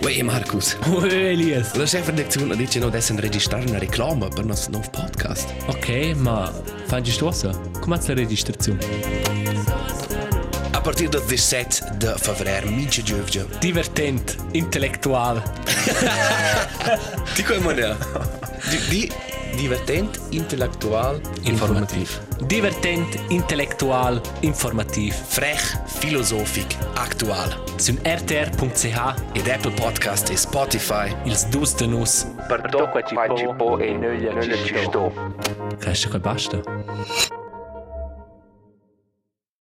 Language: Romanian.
Păi e Marcus. Oh, Elias. La chefredaktion dice no des enregistrar una reclama per nos nov podcast. Okay, ma fandest du das? Komm jetzt zur Registration. A partir del 17 de febrer, mitja giovge. Divertent, intellektual. Ti coi mona? Di, di divertent, intellectual, informativ. Divertent, intellektual, informativ. Frech, filosofic, actual. Sun rtr.ch Ed Apple Podcast e Spotify. ils dus de nus. Per dopo ci po e noi ci sto. Cresce che basta.